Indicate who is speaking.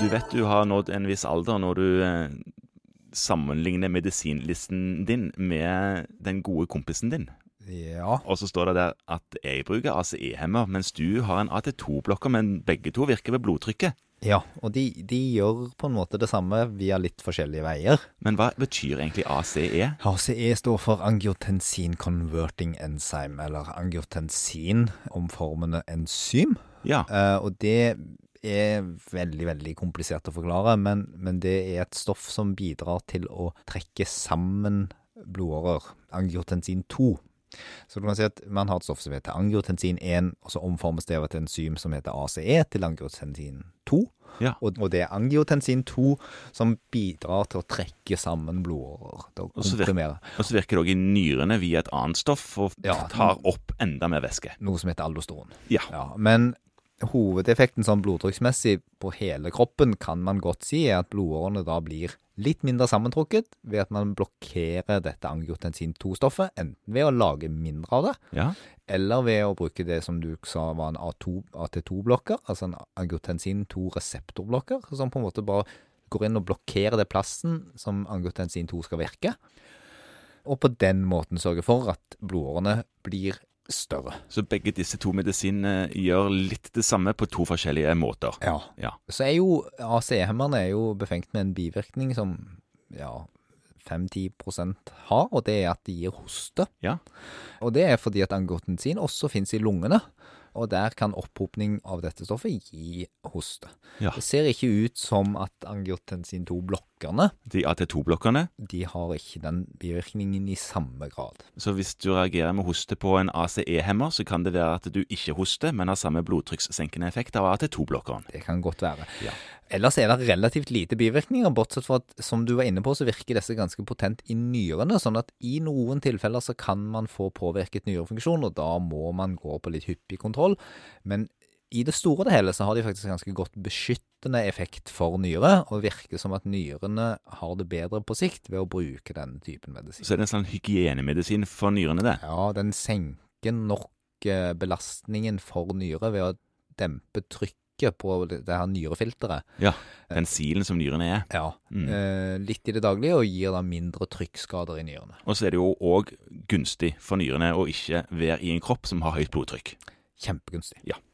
Speaker 1: Du vet du har nådd en viss alder når du eh, sammenligner medisinlisten din med den gode kompisen din.
Speaker 2: Ja.
Speaker 1: Og så står det der at jeg bruker ACE-hemmer, mens du har en AT2-blokker, men begge to virker ved blodtrykket.
Speaker 2: ja. Og de, de gjør på en måte det samme via litt forskjellige veier.
Speaker 1: Men hva betyr egentlig E? ACE?
Speaker 2: ACE står for angiotensin converting enzyme, eller angiotensin omformende enzym.
Speaker 1: Ja,
Speaker 2: Eh, og det er veldig, veldig komplisert å forklare, men, men det er et stoff som bidrar til å trekke sammen blodårer, angiotensin 2. Så du kan si at man har et stoff som heter angiotensin 1, og så omformes det av et enzym som heter ACE til angiotensin 2.
Speaker 1: Ja.
Speaker 2: Og, og det er angiotensin 2 som bidrar til å trekke sammen blodårer. til å
Speaker 1: Og så virker-
Speaker 2: komprimere.
Speaker 1: Og så virker det òg i nyrene via et annet stoff og
Speaker 2: Ja.
Speaker 1: tar opp enda mer væske.
Speaker 2: noe som heter aldosteron.
Speaker 1: Ja.
Speaker 2: men hovedeffekten sånn blodtrykksmessig på hele kroppen kan man godt si er at blodårene da blir litt mindre sammentrukket ved at man blokkerer dette angiotensin 2-stoffet, enten ved å lage mindre av det,
Speaker 1: Ja,
Speaker 2: eller ved å bruke det som du sa var en A2 AT2-blokker, altså en angiotensin 2-reseptorblokker, som på en måte bare går inn og blokkerer det plassen som angiotensin 2 skal virke, og på den måten sørge for at blodårene blir større.
Speaker 1: Så begge disse to medisinene gjør litt det samme på to forskjellige måter.
Speaker 2: Ja.
Speaker 1: Ja.
Speaker 2: Så er jo ACE-hemmerne er jo befengt med en bivirkning som ja, 5-10 har, og det er at de gir hoste.
Speaker 1: Ja.
Speaker 2: Og det er fordi at angiotensin også finnes i lungene, og der kan opphopning av dette stoffet gi hoste.
Speaker 1: Ja.
Speaker 2: Det ser ikke ut som at angiotensin 2-blokkerne
Speaker 1: De AT2-blokkene.
Speaker 2: de har ikke den bivirkningen i samme grad.
Speaker 1: Så hvis du reagerer med hoste på en ACE-hemmer, så kan det være at du ikke hoster, men har samme blodtrykkssenkende effekt av AT2-blokkeren.
Speaker 2: Det kan godt være.
Speaker 1: Ja.
Speaker 2: Ellers er det relativt lite bivirkninger, bortsett fra at som du var inne på, så virker disse ganske potent i nyrene. Sånn at i noen tilfeller så kan man få påvirket nyrefunksjon, og da må man gå på litt hyppig kontroll. Men i det store og det hele så har de faktisk ganske godt beskyttende effekt for nyre, og virker som at nyrene har det bedre på sikt ved å bruke denne typen medisin.
Speaker 1: Så er det en sånn hygienemedisin for nyrene, det.
Speaker 2: Ja, den senker nok eh, belastningen for nyre ved å dempe trykket på det det her nyrefilteret.
Speaker 1: Den silen som nyrene er.
Speaker 2: Ja,
Speaker 1: Mm.
Speaker 2: eh, litt i det daglige og gir da mindre trykkskader i nyrene.
Speaker 1: Og så er det jo òg gunstig for nyrene å ikke være i en kropp som har høyt blodtrykk.
Speaker 2: Kjempegunstig.
Speaker 1: Ja.